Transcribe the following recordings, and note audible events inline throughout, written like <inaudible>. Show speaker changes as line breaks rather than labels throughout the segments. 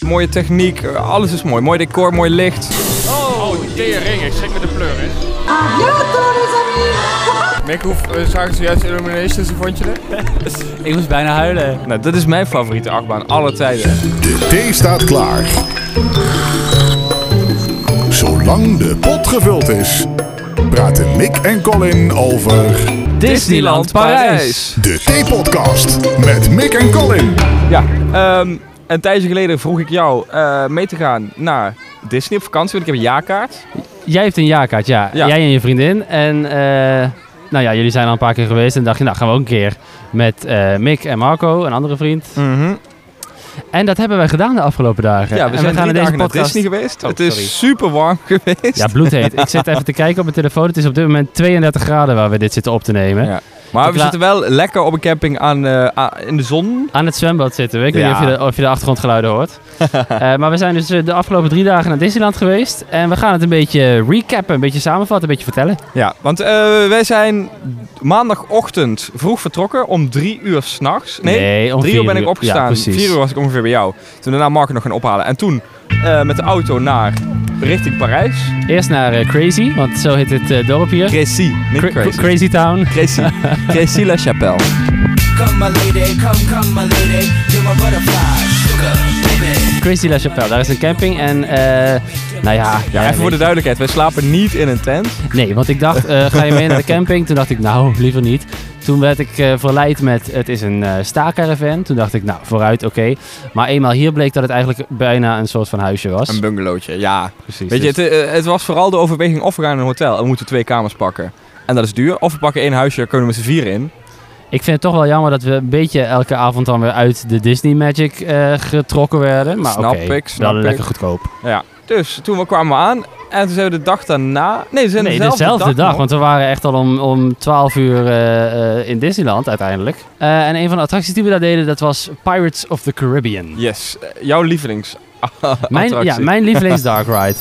mooie techniek. eh, Alles is mooi. Mooi decor, mooi licht.
Oh, tering, ik schrik met de pleur, hè.
Mick, hoe eh, zagen zojuist Illuminations, hoe vond je het?
Ik moest bijna huilen.
Nou, dat is mijn favoriete achtbaan. Alle tijden.
De thee staat klaar. Zolang de pot gevuld is, praten Mick en Colin over
Disneyland Parijs.
de Thee-podcast met Mick en Colin.
Ja, ehm, een tijdje geleden vroeg ik jou eh, mee te gaan naar Disney op vakantie, want ik heb een jaarkaart.
Jij hebt een jaarkaart, ja.
Ja.
Jij en je vriendin. En eh, nou ja, jullie zijn al een paar keer geweest. En dacht je, nou gaan we ook een keer met eh, Mick en Marco, een andere vriend. En dat hebben wij gedaan de afgelopen dagen.
Mhm. Ja,
En
we zijn drie
gaan in
dagen
deze
naar
podcast...
Disney geweest.
Oh,
het is
sorry.
super warm geweest.
Ja, bloedheet. Ik zit even te kijken op mijn telefoon. Het is op dit moment 32 graden waar we dit zitten op te nemen.
Ja. Maar we
Ik la-
zitten wel lekker op een camping aan, eh, aan- in de zon.
Aan het zwembad zitten we. Ik
Ja.
weet niet of je, de, of je de
<laughs>
achtergrondgeluiden hoort. Eh, maar we zijn dus eh, de afgelopen drie dagen naar Disneyland geweest. En we gaan het een beetje recappen, een beetje samenvatten, een beetje vertellen.
Ja, want eh, wij zijn maandagochtend vroeg vertrokken om drie uur s'nachts. Nee,
om
drie
vier
uur ben ik opgestaan.
Ja, precies.
Vier uur was ik ongeveer bij jou. Toen daarna Mark nog gaan ophalen. En toen eh, met de auto naar richting Parijs.
Eerst naar eh, Crazy, want zo heet het eh, dorp hier.
Crazy, niet
Cra-
crazy.
Crazy Town. <laughs>
Crazy. Crazy La Chapelle.
Come my lady, come, come my lady, you're my butterfly, sugar, baby.
Crazy La Chapelle, daar is een camping en eh nou ja.
Ja, even voor de duidelijkheid, wij slapen niet in een tent.
Nee, want ik dacht, eh, ga je mee naar de camping? Toen dacht ik, nou, liever niet. Toen werd ik eh, verleid met, het is een eh staakcaravan. Toen dacht ik, nou, vooruit, oké. Maar eenmaal hier bleek dat het eigenlijk bijna een soort van huisje was.
Een bungalowtje, ja.
Precies.
Weet je,
dus-
het, eh, het was vooral de overweging of we gaan in een hotel en we moeten twee kamers pakken. En dat is duur. Of we pakken één huisje, daar kunnen we met z'n vieren in.
Ik vind het toch wel jammer dat we een beetje elke avond dan weer uit de Disney Magic eh, getrokken werden. Maar
Snap
oké,
ik, snap
wel
ik.
lekker goedkoop.
Dus toen we kwamen aan en toen zijn we de dag daarna... Nee, we zijn
nee,
dezelfde,
dezelfde dag,
nog.
want we waren echt al om, om 12 uur eh, eh, in Disneyland uiteindelijk. Eh, en een van de attracties die we daar deden, dat was Pirates of the Caribbean.
Yes, eh, jouw lievelings.
<laughs> mijn, ja,
attractie. <laughs>
mijn lievelings dark ride.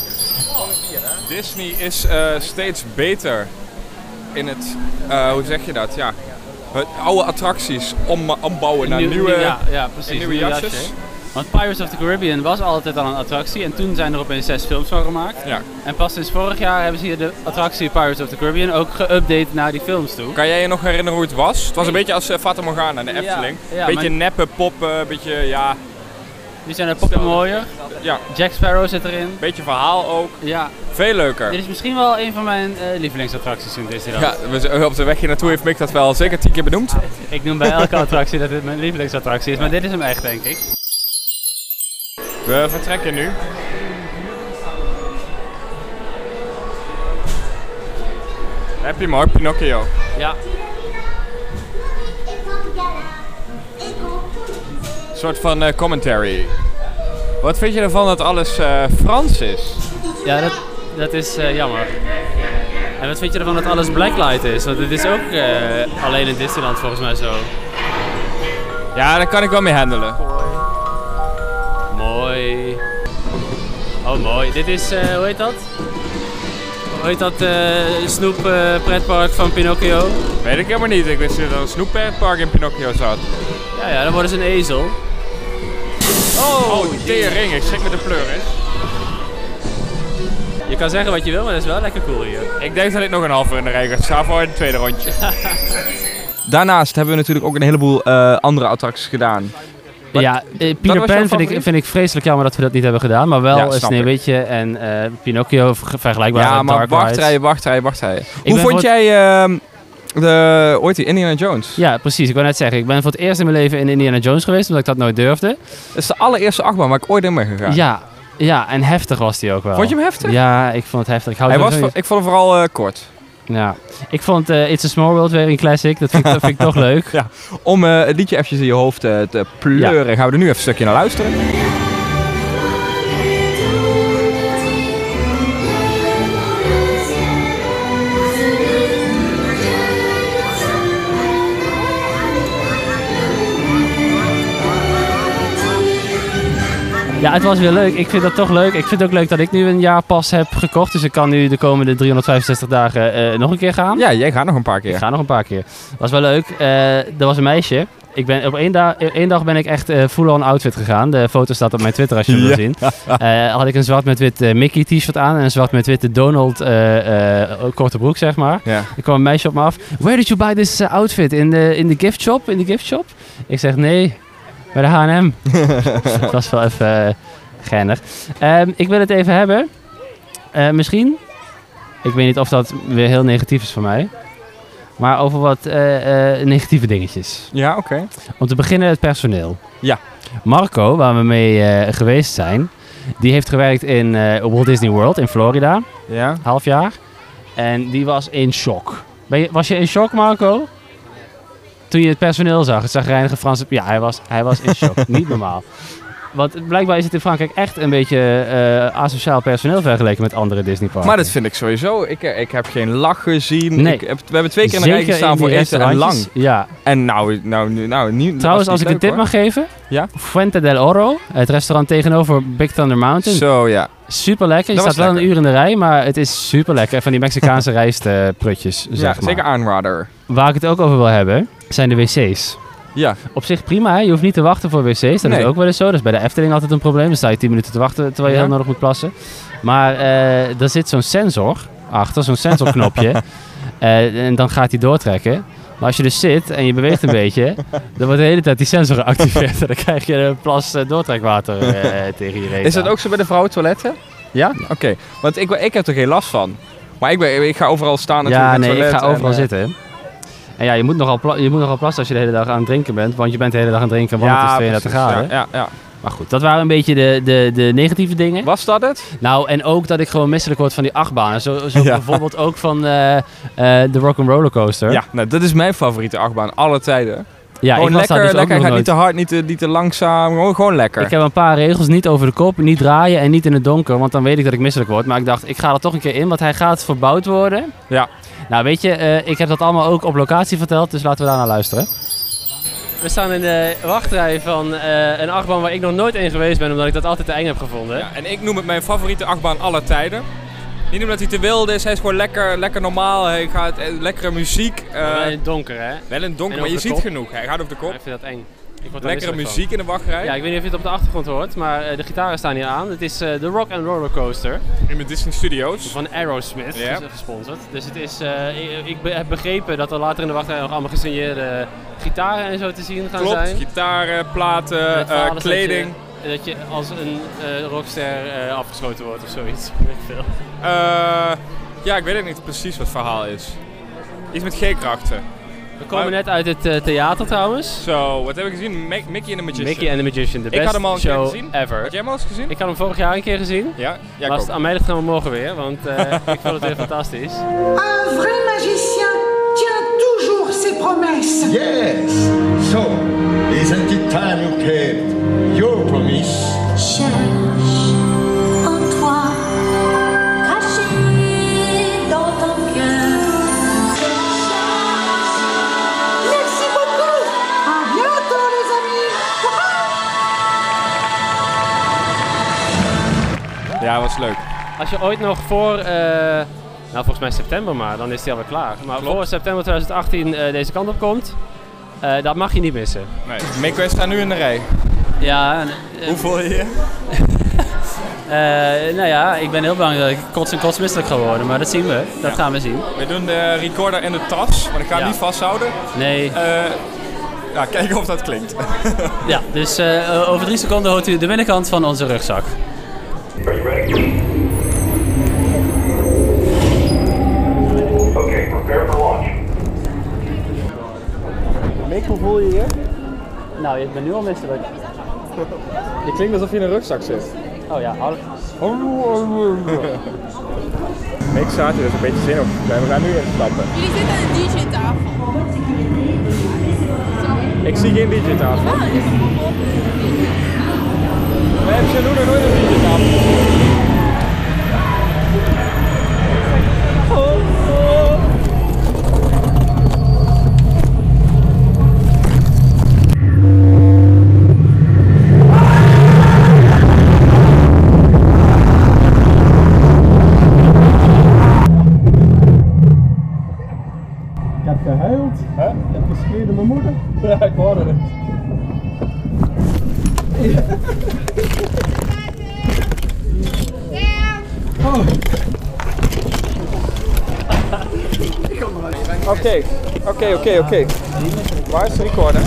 Disney is eh, steeds beter in het, eh, hoe zeg je dat? Ja, het oude attracties om, ombouwen naar Nou, nieuwe,
precies.
en nieuwe jasjes.
Want Pirates of the Caribbean was altijd al een attractie en toen zijn er opeens zes films van gemaakt.
Ja.
En pas sinds vorig jaar hebben ze hier de attractie Pirates of the Caribbean ook geüpdate naar die films toe.
Kan jij je nog herinneren hoe het was? Het was een beetje als eh, Fata Morgana, de
Ja,
Efteling.
ja,
beetje
maar-
neppe poppen, beetje, ja,
Die zijn er poppen mooier.
Ja.
Jack Sparrow zit erin.
beetje verhaal ook.
Ja.
Veel leuker.
Dit is misschien wel een van mijn eh, lievelingsattracties in Disneyland.
Ja, we zijn- op de weg hier naartoe heeft Mick dat wel zeker tien keer benoemd.
Ik noem bij elke attractie dat dit mijn lievelingsattractie is, maar dit is hem echt, denk ik.
We vertrekken nu.
Heb je maar, Pinocchio.
Ja.
Een soort van eh, commentary. Wat vind je ervan dat alles eh, Frans is?
Ja, dat, dat is eh, jammer. En wat vind je ervan dat alles blacklight is? Want dit is ook eh, alleen in Disneyland volgens mij zo.
Ja, daar kan ik wel mee handelen.
Mooi. Oh, mooi. Dit is, eh, hoe heet dat? Hoe heet dat eh, snoep eh, pretpark van Pinocchio?
Weet ik helemaal niet. Ik wist niet dat er een snoeppark in Pinocchio zat.
Ja, ja, dan worden ze een ezel.
Oh, tering. Ik schrik met de pleur, hè.
Je kan zeggen wat je wil, maar dat is wel lekker cool hier.
Ik denk dat ik nog een half uur in de rij ga staan voor het tweede rondje. Daarnaast hebben we natuurlijk ook een heleboel eh, andere attracties gedaan.
Ja, eh,
was
Peter
jouw
Pan vind ik,
favoriet?
vind ik vreselijk jammer dat we dat niet hebben gedaan. Maar wel
Ja,
eh,
snap ik.
Sneeuwwitje en eh, Pinocchio ver- vergelijkbaar
ja,
met
maar
Dark Rides.
wachtrij, wachtrij, wachtrij. Hoe
ben
vond
voor-
jij ehm, de, ooit die Indiana Jones?
Ja, precies. Ik wou net zeggen, ik ben voor het eerst in mijn leven in Indiana Jones geweest, omdat ik dat nooit durfde.
Dat is de allereerste achtbaan waar ik ooit in ben
Ja,
gegaan.
ja, en heftig was die ook wel.
Vond je hem heftig?
Ja, ik vond het heftig. Ik hou
Hij was,
sowieso
ik vond hem vooral eh, kort.
niet- Ja. Ik vond eh, It's a Small World weer een classic. Dat vind ik, dat
<laughs>
vind ik toch leuk.
Om eh, het liedje eventjes in je hoofd eh, te pleuren, gaan we er nu even een stukje naar luisteren.
Ja, het was weer leuk. Ik vind dat toch leuk. Ik vind het ook leuk dat ik nu een jaarpas heb gekocht. Dus ik kan nu de komende 365 dagen eh, nog een keer gaan.
Ja, jij gaat nog een paar
Ik
keer.
ga nog een paar keer. Was wel leuk. Eh er was een meisje Ik ben, op één, da één dag ben ik echt eh full-on outfit gegaan. De foto staat op mijn Twitter als je hem
Ja.
wil zien. Eh, had ik een zwart met wit eh, Mickey t-shirt aan en een zwart met witte Donald eh, eh, korte broek, zeg maar.
Ja.
Er kwam een meisje op me af. Where did you buy this eh, outfit? In the, in the gift shop? In the gift shop? Ik zeg nee, bij de H&M. Dat was wel even eh, geinig. Ehm, ik wil het even hebben. Eh, misschien, ik weet niet of dat weer heel negatief is voor mij. Maar over wat eh, eh, negatieve dingetjes.
Ja, oké.
Om te beginnen het personeel.
Ja.
Marco, waar we mee eh, geweest zijn, die heeft gewerkt in eh, Walt Disney World in Florida,
Ja?
half jaar. En die was in shock. Ben je, was je in shock, Marco? Toen je het personeel zag, het zagrijnige Franse... Ja, hij was, hij was
<laughs>
in shock. Niet normaal. Want blijkbaar is het in Frankrijk echt een beetje eh, asociaal personeel vergeleken met andere Disneyparken.
Maar dat vind ik sowieso. Ik, eh, ik heb geen lach gezien.
Nee.
Ik heb, we hebben twee keer in de rij
Zeker
gestaan
in die
voor eten en lang.
restaurantjes. Ja,
En nou, nou, nu- nou, nu, was
Trouwens,
niet
als ik een
leuk,
tip
hoor.
mag geven.
Ja?
Fuente del Oro, het restaurant tegenover Big Thunder Mountain.
Zo ja.
super lekker. Je
Dat
staat
was
wel een
lekker.
uur in de rij, maar het is super lekker. Van die
<laughs>
Mexicaanse rijstprutjes, zeg
ja
maar.
zeker aanrader.
Waar ik het ook over wil hebben, zijn de wc's.
Ja.
Op zich prima, hè? je hoeft niet te wachten voor wc's. Dat is
Nee.
ook wel eens zo. Dat is bij de Efteling altijd een probleem. Dan sta je 10 minuten te wachten terwijl je
Ja.
heel nodig moet plassen. Maar eh er zit zo'n sensor achter, zo'n sensorknopje.
<laughs>
Eh, en dan gaat hij doortrekken. Maar als je dus zit en je
<laughs>
beweegt een beetje, dan wordt de hele tijd die sensor geactiveerd. <laughs> En dan krijg je een plas eh, doortrekwater eh, tegen je reet
Is dat
aan.
ook zo bij de vrouwentoiletten? Ja? Oké. Want ik, ik heb er geen last van. Maar ik, ben, ik ga overal staan en
Ja,
toe op het
nee, ik
toilet
ga
en,
overal
eh,
zitten. En ja, je moet, nogal pla- je moet nogal plassen als je de hele dag aan het drinken bent. Want je bent de hele dag aan het drinken, want het is 32
precies,
graden.
Ja, ja,
Maar goed, dat waren een beetje de, de, de negatieve dingen.
ja. Was dat het?
Nou, en ook dat ik gewoon misselijk word van die achtbanen. Zo, zo
<laughs> Ja.
bijvoorbeeld ook van eh, eh, de Rock'n'Roller Coaster.
Ja, nou, dat is mijn favoriete achtbaan. Alle tijden.
ja
gewoon
was daar
lekker,
dus ook
lekker.
nog
Gaat niet
nooit.
te hard, niet te, niet te langzaam. Gewoon, gewoon lekker.
Ik heb een paar regels, niet over de kop, niet draaien en niet in het donker, want dan weet ik dat ik misselijk word. Maar ik dacht, ik ga er toch een keer in, want hij gaat verbouwd worden.
Ja.
Nou, weet je, eh, ik heb dat allemaal ook op locatie verteld, dus laten we daarna luisteren. We staan in de wachtrij van eh, een achtbaan waar ik nog nooit in geweest ben, omdat ik dat altijd te eng heb gevonden.
Ja, en ik noem het mijn favoriete achtbaan alle tijden. Niet omdat hij te wild is, hij is gewoon lekker, lekker normaal. Hij gaat eh, lekkere muziek. eh,
Eh, donker, hè?
wel in het donker,
en
maar
over
je
de
ziet
kop.
genoeg. Hij gaat op de
Maar
kop.
ik vind dat eng. Ik word er
Lekkere
misselijk van.
muziek in de wachtrij.
Ja, ik weet niet of je het op de achtergrond hoort, maar eh, de gitaren staan hier aan. Het is eh, de Rock and Roller Coaster
In de Disney Studios.
van Aerosmith,
Ja.
dus, eh, gesponsord. Dus het is, eh, ik, ik be- heb begrepen dat er later in de wachtrij nog allemaal gesigneerde gitaren en zo te zien gaan
Klopt,
zijn.
gitaren, platen,
Het verhaal
eh,
is
kleding.
Dat je, dat je als een eh, rockster eh, afgeschoten wordt of zoiets. <laughs> Weet ik veel.
Eh, ja, ik weet ook niet precies wat het verhaal is. Iets met G-krachten.
We komen net uit het eh, theater trouwens.
Zo, wat heb ik gezien? Mi- Mickey en de Magician.
Mickey and the Magician, de
Ik had
best
hem al een keer
show
gezien.
ever.
Had jij hem al eens gezien?
Ik had hem vorig jaar een keer gezien.
Ja, ja ik
Maar als
ook.
het aan mij ligt, gaan we morgen weer, want
<laughs>
eh, ik vond het weer fantastisch.
Un vrai magicien tient toujours ses promesses.
Yes. So, isn't it time you kept your promise?
Cherche en toi, caché dans ton cœur. Merci beaucoup. À bientôt, les amis.
Ja, was leuk.
Als je ooit nog voor, eh, nou volgens mij september maar, dan is die alweer klaar. Maar voor september 2018 eh, deze kant op komt, eh, dat mag je niet missen.
Nee. Mickey, wij staan nu in de rij.
Ja,
Hoeveel je?
nou ja, ik ben heel bang dat ik kots en kots misselijk ga worden, maar dat zien we. Dat gaan we zien.
We doen de recorder in de tas, maar ik ga hem
Ja.
niet vasthouden.
Nee,
Eh ja, kijken of dat klinkt.
ja, dus
eh,
over drie seconden hoort u de binnenkant van onze rugzak.
Are you ready? Okay, prepare for launch.
Mick, hoe voel je je? Nou, ik ben nu al misselijk.
Het klinkt alsof je in een rugzak zit.
Oh ja, hou
Oh,
Mick staat hier, dus een beetje zin op. We gaan nu instappen.
Jullie zitten aan de DJ-tafel.
Ik zie geen DJ-tafel.
Ah, dus
We hebben Jaloen nog nooit een DJ-tafel.
Ik heb gehuild. Hè? Ik heb geschreven mijn moeder.
Ja, ik hoorde het.
Oké, oké, oké, oké. Waar is de recorder?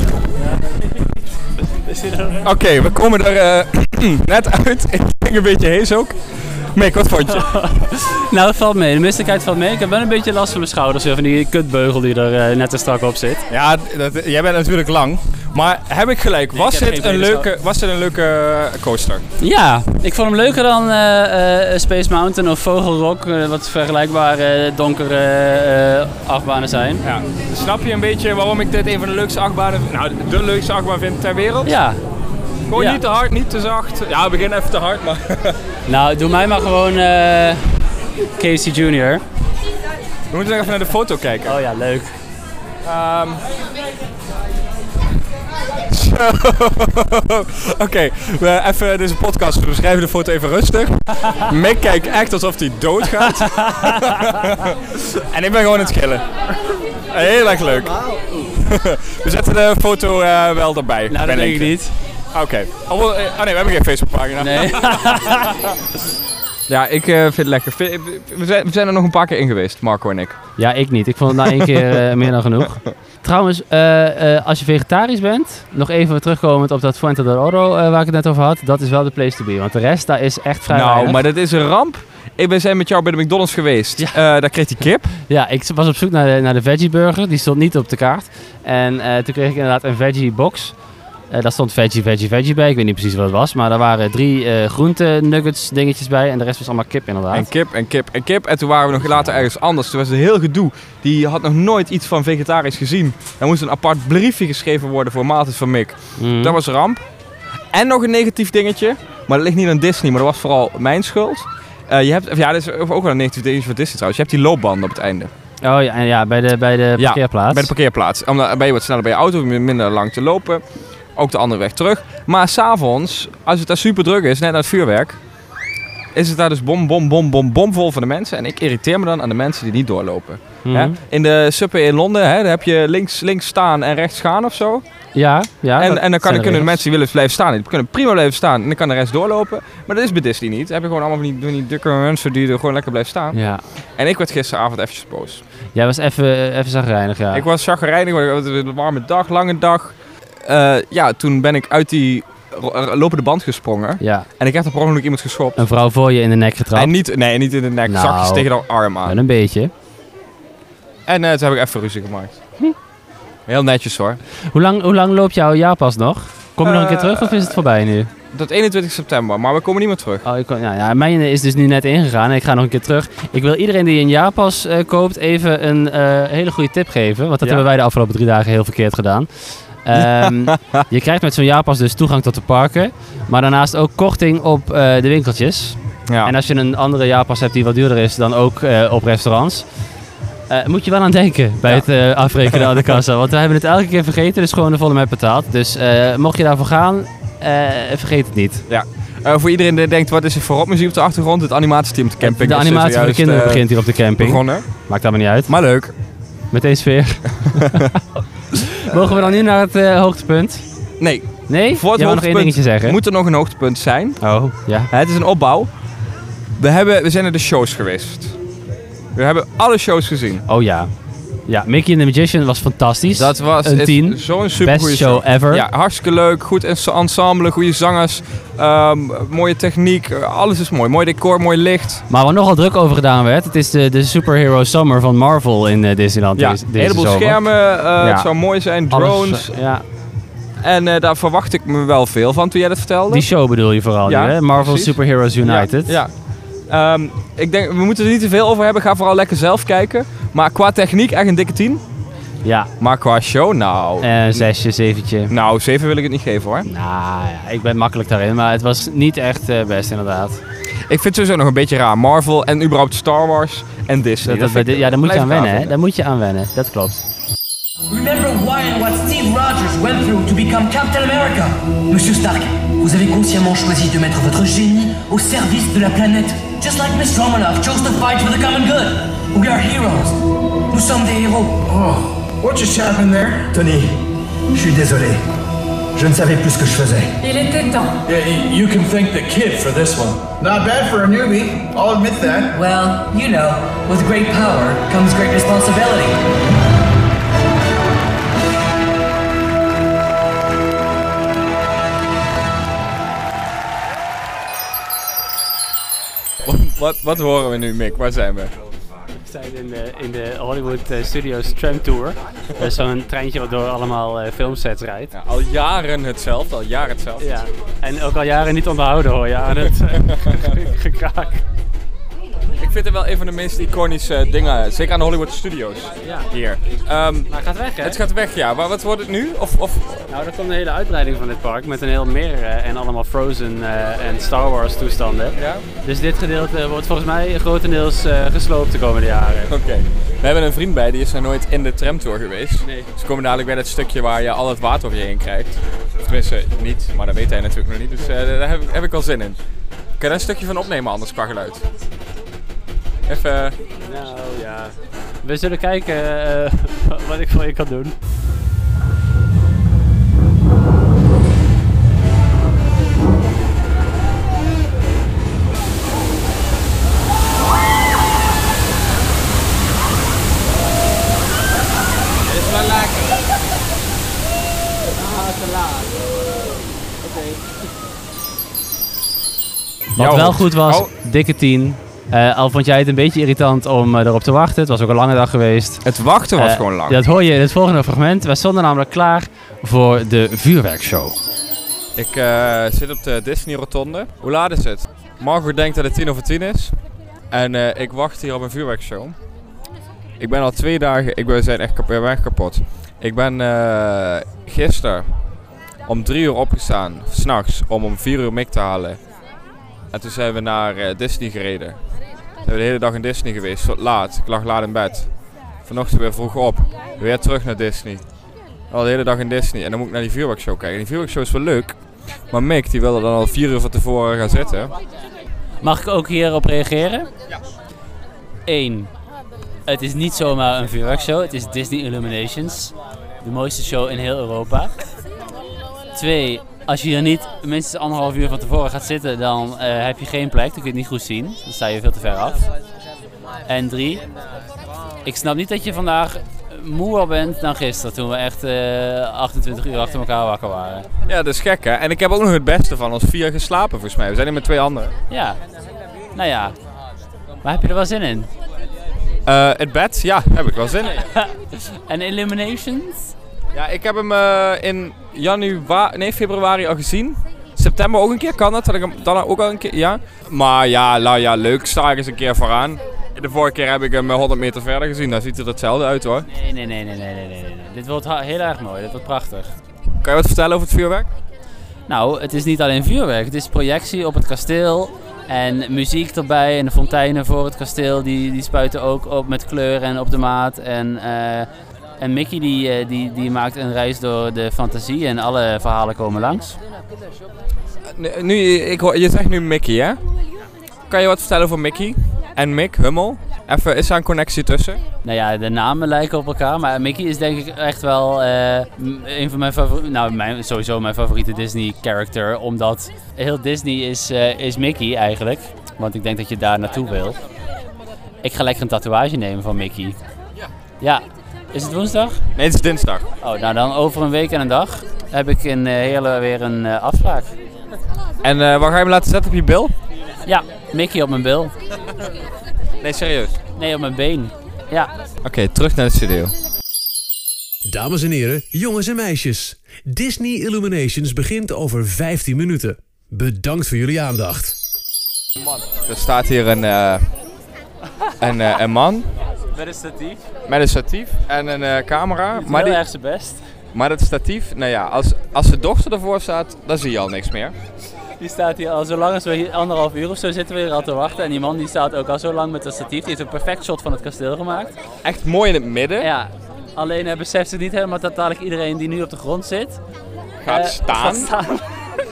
Oké, we komen er eh, <clears throat> net uit. Ik denk een beetje hees ook. Mick, wat vond je?
nou, het valt mee. De misselijkheid valt mee. Ik heb wel een beetje last van mijn schouders. weer Van die kutbeugel die er eh, net te strak op zit.
<laughs> Ja, jij bent natuurlijk lang. Maar heb ik gelijk,
ik
was,
heb geen
dit
dus
een
brede
leuke, was dit een leuke eh, coaster?
Ja, ik vond hem leuker dan eh, eh, Space Mountain of Vogelrok. eh, wat vergelijkbare eh, donkere eh, achtbanen zijn.
Ja. Snap je een beetje waarom ik dit een van de leukste achtbanen, nou de leukste achtbaan vind ter wereld?
Ja.
Gewoon
Ja.
niet te hard, niet te zacht. Ja, we beginnen even te hard, maar...
Nou, doe mij maar gewoon eh, Casey Jr.
<laughs> We moeten nog even naar de foto kijken.
Oh ja, leuk.
Ehm. Zo. Oké, we even deze podcast. We beschrijven de foto even rustig. Mick kijkt echt alsof hij <laughs> doodgaat. en ik ben gewoon aan het schillen. Heel erg leuk. <laughs> we zetten de foto eh, wel erbij.
Nou, dat
ben
denk ik niet.
Oké. Alhoewel, eh, Oh nee, we hebben geen Facebookpagina.
Nee.
<laughs> ja, ik eh, vind het lekker. We zijn, we zijn er nog een paar keer in geweest, Marco en ik.
Ja, ik niet. Ik vond het na één keer eh, meer dan genoeg. Trouwens, eh, eh, als je vegetarisch bent, nog even terugkomend op dat Fuente del Oro eh, waar ik het net over had, dat is wel de place to be. Want de rest, daar is echt vrij
nou,
weinig.
maar dat is een ramp. Ik ben zijn met jou bij de McDonald's geweest. Eh, daar kreeg hij kip.
Ja, ik was op zoek naar de, naar de veggie burger. Die stond niet op de kaart. En eh, toen kreeg ik inderdaad een veggie box. Eh, daar stond veggie, veggie, veggie bij. Ik weet niet precies wat het was. Maar daar waren drie eh groente nuggets dingetjes bij. En de rest was allemaal kip inderdaad.
En kip en kip en kip. En toen waren we nog later ergens anders. Toen was het heel gedoe. Die had nog nooit iets van vegetarisch gezien. Er moest een apart briefje geschreven worden voor maaltijd van Mick. Dat was ramp. En nog een negatief dingetje. Maar dat ligt niet aan Disney, maar dat was vooral mijn schuld. Eh, je hebt, ja, dat is ook wel een negatief dingetje voor Disney trouwens. Je hebt die loopbanden op het einde.
Oh ja, en ja bij, de, bij de parkeerplaats.
Bij de parkeerplaats. Om dan ben je wat sneller bij je auto, om minder lang te lopen. Ook de andere weg terug. Maar s'avonds, als het daar super druk is, net na het vuurwerk, is het daar dus bom, bom, bom, bom, bom vol van de mensen. En ik irriteer me dan aan de mensen die niet doorlopen.
Mhm.
Hè? In de subway in Londen hè, daar heb je links, links staan en rechts gaan of zo.
Ja, ja.
en,
dat
en
zijn
dan kan, kunnen
er
de
regels.
mensen die willen blijven staan, die kunnen prima blijven staan. En dan kan de rest doorlopen. Maar dat is bij Disney niet. Dan heb je gewoon allemaal van die, van die dikke mensen die er gewoon lekker blijven staan.
Ja.
En ik werd gisteravond eventjes boos.
Jij was even, even zagrijnig, ja.
Ik was chagrijnig, want het was een warme dag, lange dag. Eh, ja, toen ben ik uit die ro- eh, lopende band gesprongen.
Ja.
En ik heb er per ongeluk iemand geschopt.
Een vrouw voor je in de nek getrapt.
En niet, nee, niet in de nek,
Nou.
zakjes tegen haar arm aan.
Wel een beetje.
En eh, toen heb ik even ruzie gemaakt. Heel netjes hoor.
Hoe lang, hoe lang loopt jouw jaarpas nog? Kom je nog een keer terug of is het voorbij nu?
Tot 21 september, maar we komen niet meer terug.
Oh, ik kon, ja, ja, mijn is dus nu net ingegaan en ik ga nog een keer terug. Ik wil iedereen die een jaarpas eh, koopt even een eh, hele goede tip geven. Want dat
Ja.
hebben wij de afgelopen drie dagen heel verkeerd gedaan. <laughs> Ehm, je krijgt met zo'n jaarpas dus toegang tot de parken. Maar daarnaast ook korting op eh, de winkeltjes.
Ja.
En als je een andere jaarpas hebt die wat duurder is dan ook eh, op restaurants. eh, moet je wel aan denken bij het eh, afrekenen aan de kassa. Want we hebben het elke keer vergeten, dus gewoon de volle met betaald. Dus eh, mocht je daarvoor gaan, eh, vergeet het niet.
Ja. Eh, voor iedereen die denkt, wat is er voorop muziek op de achtergrond? Het animatieteam op de camping.
De
is
animatie voor de
zojuist,
kinderen
eh,
begint hier op de camping.
Begonnen.
Maakt allemaal niet uit.
Maar leuk.
Met deze
<laughs>
sfeer. Mogen we dan nu naar het eh, hoogtepunt?
Nee.
Nee?
Voor het
Jij wou nog één
hoogtepunt
dingetje zeggen.
Moet er nog een hoogtepunt zijn?
Oh, ja.
Het is een opbouw. We, hebben, we zijn naar de shows geweest. We hebben alle shows gezien.
Oh ja. Ja, Mickey and the Magician was fantastisch.
Dat was
een
het-
10.
zo'n super
Best show ever.
Ja, hartstikke leuk. Goed ens- ensemble, goede zangers, ehm, mooie techniek. eh, Alles is mooi. Mooi decor, mooi licht.
Maar waar nogal druk over gedaan werd, het is de, de Superhero Summer van Marvel in eh, Disneyland.
Ja,
deze,
een
deze
heleboel
zomer.
schermen. eh,
Ja.
Het zou mooi zijn.
Alles,
Drones.
eh, ja.
En eh, daar verwacht ik me wel veel van toen jij dat vertelde.
Die show bedoel je vooral
Ja,
nu, hè? Marvel
precies.
Superheroes United.
Ja. ja. Ehm, ik denk, we moeten er niet te veel over hebben. Ga vooral lekker zelf kijken. Maar qua techniek echt een dikke 10.
Ja.
Maar qua show, nou.
Eh, zesje, zeventje.
Nou, 7 wil ik het niet geven hoor.
Nou ja, ik ben makkelijk daarin, maar het was niet echt eh, best inderdaad.
Ik vind het sowieso nog een beetje raar. Marvel en überhaupt Star Wars en Disney.
Dat, dat,
vind ik-
ja, daar moet je
blijf
aan
ik raar
wennen, hè?
vinden.
Daar moet je aan wennen. Dat klopt.
Remember why and what Steve Rogers went through to become Captain America. Monsieur Stark, vous avez consciemment choisi de mettre votre génie au service de la planète. Just like Miss Romanoff chose to fight for the common good. We are heroes. Nous sommes des héros.
Oh, What just happened there? Tony, je suis désolé. Je ne savais plus ce que je faisais.
Il était temps.
Yeah, you can thank the kid for this one. Not bad for a newbie. I'll admit that.
Well, you know, with great power comes great responsibility.
<laughs> Wat, wat horen we nu, Mick? Waar zijn we?
We zijn in de, in de Hollywood eh, Studios Tram Tour. Dat is zo'n treintje wat door allemaal eh, filmsets rijdt.
al jaren hetzelfde, al jaren hetzelfde.
Ja, en ook al jaren niet onderhouden hoor je aan het eh, <laughs> gekraak.
Ik vind het wel een van de meest iconische dingen, zeker aan de Hollywood Studios
Ja.
hier. Ehm,
Maar Nou, het gaat weg hè?
het gaat weg, ja. Maar wat wordt het nu? Of, of
Nou, dat komt een hele uitbreiding van dit park met een heel meer eh, en allemaal Frozen eh, en Star Wars toestanden.
Ja.
Dus dit gedeelte wordt volgens mij grotendeels eh, gesloopt de komende jaren.
<laughs>
Oké.
We hebben een vriend bij, die is nog nooit in de tramtour geweest. Nee. Ze komen dadelijk bij dat stukje waar je al het water over je heen krijgt. Of Tenminste, niet, maar dat weet hij natuurlijk nog niet. Dus eh, daar heb, ik- heb ik wel zin in. Kan je daar een stukje van opnemen anders qua geluid? Even... eh,
Nou ja. We zullen kijken eh, <laughs> wat ik voor je kan doen.
is wel lekker.
Ah, te laat. Oké.
Wat wel goed was,
Oh.
dikke 10. Eh, al vond jij het een beetje irritant om eh, erop te wachten. Het was ook een lange dag geweest.
Het wachten was
Eh,
gewoon lang.
Dat hoor je in het volgende fragment. Wij stonden namelijk klaar voor de vuurwerkshow.
Ik eh, zit op de Disney Rotonde. Hoe laat is het? Margot denkt dat het tien over tien is. En eh, ik wacht hier op een vuurwerkshow. Ik ben al twee dagen... Ik ben, we zijn echt kap we zijn echt kapot. Ik ben eh gisteren om drie uur opgestaan. S'nachts. Om om vier uur Mick te halen. En toen zijn we naar eh, Disney gereden. Zijn we de hele dag in Disney geweest. Tot laat. Ik lag laat in bed. Vanochtend weer vroeg op. Weer terug naar Disney. Al de hele dag in Disney. En dan moet ik naar die vuurwerkshow kijken. En die vuurwerkshow is wel leuk. Maar Mick die wilde dan al vier uur van tevoren gaan zitten.
Mag ik ook hierop reageren? Ja. 1. Het is niet zomaar een vuurwerkshow. Het is Disney Illuminations. De mooiste show in heel Europa. 2. Als je er niet minstens anderhalf uur van tevoren gaat zitten, dan eh, heb je geen plek. Dan kun je het niet goed zien. Dan sta je veel te ver af. En 3. Ik snap niet dat je vandaag moeer bent dan gisteren, toen we echt eh, 28 uur achter elkaar wakker waren.
Ja, dat is gek hè. En ik heb ook nog het beste van ons vier geslapen volgens mij. We zijn hier met twee anderen.
Ja. Nou ja. Maar heb je er wel zin in?
Eh, het bed, ja, daar heb ik wel zin in.
En Illuminations?
Ja, ik heb hem eh, in januari, nee, februari al gezien. September ook een keer kan dat, dat ik hem dan ook al een keer, ja. Maar ja, nou ja, leuk, sta ik eens een keer vooraan. De vorige keer heb ik hem eh, 100 meter verder gezien, daar ziet het hetzelfde uit hoor.
Nee, nee, nee, nee, nee, nee, nee, nee. Dit wordt ha- heel erg mooi. Dit wordt prachtig.
Kan je wat vertellen over het vuurwerk?
Nou, het is niet alleen vuurwerk. Het is projectie op het kasteel. En muziek erbij. En de fonteinen voor het kasteel. Die, die spuiten ook op met kleur en op de maat. En, eh, en Mickey die, eh, die, die maakt een reis door de fantasie. En alle verhalen komen langs.
Nu- Nu, ik hoor, je zegt nu Mickey, hè? Kan je wat vertellen over Mickey en Mick Hummel? Even, is daar een connectie tussen?
Nou ja, de namen lijken op elkaar, maar Mickey is denk ik echt wel eh, m- een van mijn favoriete, nou mijn, sowieso mijn favoriete Disney character, omdat heel Disney is, eh, is Mickey eigenlijk, want ik denk dat je daar naartoe wil. Ik ga lekker een tatoeage nemen van Mickey. Ja. Is het woensdag?
Nee, het is dinsdag.
Oh, nou dan over een week en een dag heb ik in eh, Heerlen weer een eh, afspraak.
En eh, waar ga je hem laten zetten op je bil?
Ja, Mickey op mijn bil.
Nee, serieus?
Nee, op mijn been. Ja.
Oké, terug naar de studio.
Dames en heren, jongens en meisjes. Disney Illuminations begint over 15 minuten. Bedankt voor jullie aandacht.
Er staat hier een, eh, een, eh, een man
Met een statief.
met een statief en een eh, camera.
Doet
Maar,
heel
die,
erg zijn best.
maar dat statief, nou ja, als, als de dochter ervoor staat, dan zie je al niks meer.
Die staat hier al zo lang als we hier anderhalf uur of zo zitten we hier al te wachten. En die man die staat ook al zo lang met dat statief. Die heeft een perfect shot van het kasteel gemaakt.
Echt mooi in het midden.
Ja, alleen eh, beseft ze niet helemaal dat dadelijk iedereen die nu op de grond zit...
Gaat
eh,
staan.
gaat staan. <laughs>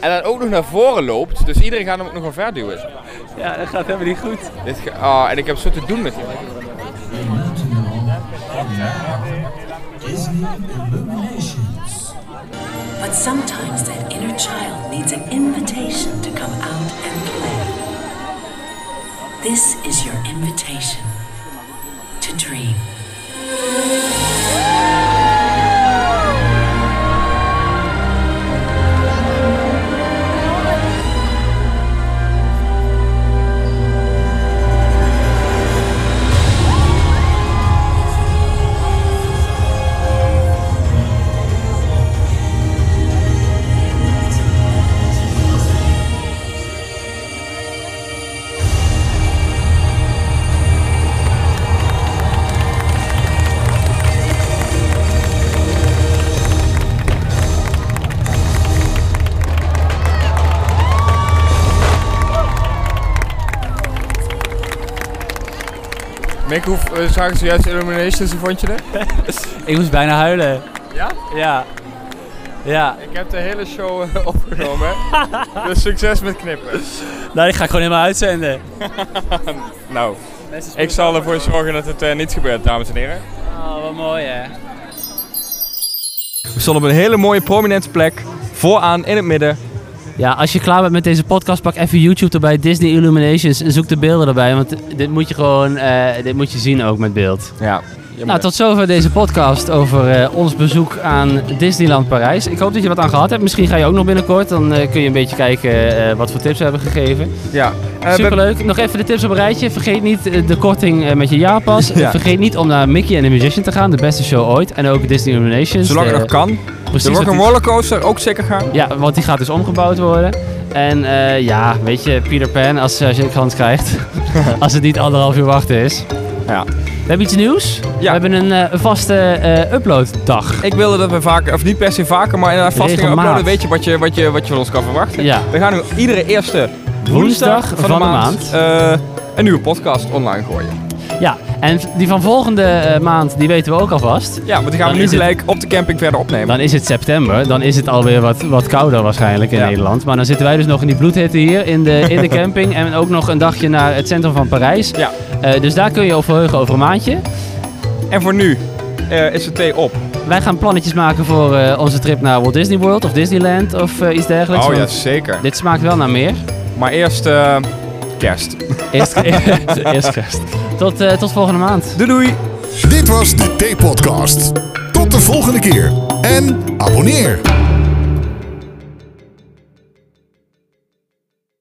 En dan ook nog naar voren loopt, dus iedereen gaat hem ook nog een verduwen.
Ja, dat gaat helemaal niet goed.
Dit ge- ah, en ik heb zo te doen met die man.
But sometimes that inner child needs an invitation to come out and play. This is your invitation to dream.
Mick, hoe eh, zagen ze juist Illuminations, hoe vond je dat?
Ik moest bijna huilen.
Ja?
Ja. Ja.
Ik heb de hele show eh, opgenomen. dus succes met knippen.
Nou, die ga ik gewoon helemaal uitzenden.
nou, ik zal ervoor zorgen dat het eh, niet gebeurt, dames en heren.
Oh, wat mooi hè.
We stonden op een hele mooie prominente plek. Vooraan in het midden.
Ja, als je klaar bent met deze podcast, pak even YouTube erbij, Disney Illuminations en zoek de beelden erbij. Want dit moet je gewoon, eh, dit moet je zien ook met beeld.
Ja.
Nou, tot zover deze podcast over eh, ons bezoek aan Disneyland Parijs. Ik hoop dat je wat aan gehad hebt. Misschien ga je ook nog binnenkort. Dan eh, kun je een beetje kijken eh, wat voor tips we hebben gegeven.
Ja. Eh,
Superleuk. Nog even de tips op een rijtje. Vergeet niet eh, de korting eh, met je jaarpas.
<laughs> Ja.
Vergeet niet om naar Mickey en the Musician te gaan. De beste show ooit. En ook Disney Illuminations.
Zolang het
de-
nog kan.
Precies.
De
want die-
Rock'n'Roller Coaster ook zeker gaan.
ja, want die gaat dus omgebouwd worden. En eh, ja, weet je, Peter Pan als, eh, als je een kans
<laughs>
krijgt. als het niet anderhalf uur wachten is.
Ja.
We hebben iets nieuws. We hebben een eh, een vaste eh, uploaddag.
Ik wilde dat we vaker, of niet per se vaker, maar inderdaad vast gingen
Regelmaat.
uploaden. Weet je wat je, wat, je, wat je van ons kan verwachten?
Ja.
We gaan nu iedere eerste
Woensdag
woensdag van,
van
de
de
maand, eh, een nieuwe podcast online gooien.
Ja, en die van volgende eh, maand, die weten we ook alvast.
Ja, want die gaan
Dan
we nu
is het-
gelijk op de camping verder opnemen.
Dan is het september, dan is het alweer wat, wat kouder waarschijnlijk in
Ja.
Nederland. Maar dan zitten wij dus nog in die bloedhitte hier in de,
<laughs>
in de camping. en ook nog een dagje naar het centrum van Parijs.
Ja.
Eh, dus daar kun je op verheugen over een maandje.
En voor nu eh, is de thee op.
Wij gaan plannetjes maken voor eh, onze trip naar Walt Disney World of Disneyland of eh, iets dergelijks.
Oh ja,
want
zeker.
Dit smaakt wel naar meer.
Maar eerst eh, kerst.
Eerst, <laughs> eerst kerst. Tot, eh, tot volgende maand.
Doei doei.
Dit was de T-podcast. Tot de volgende keer en abonneer.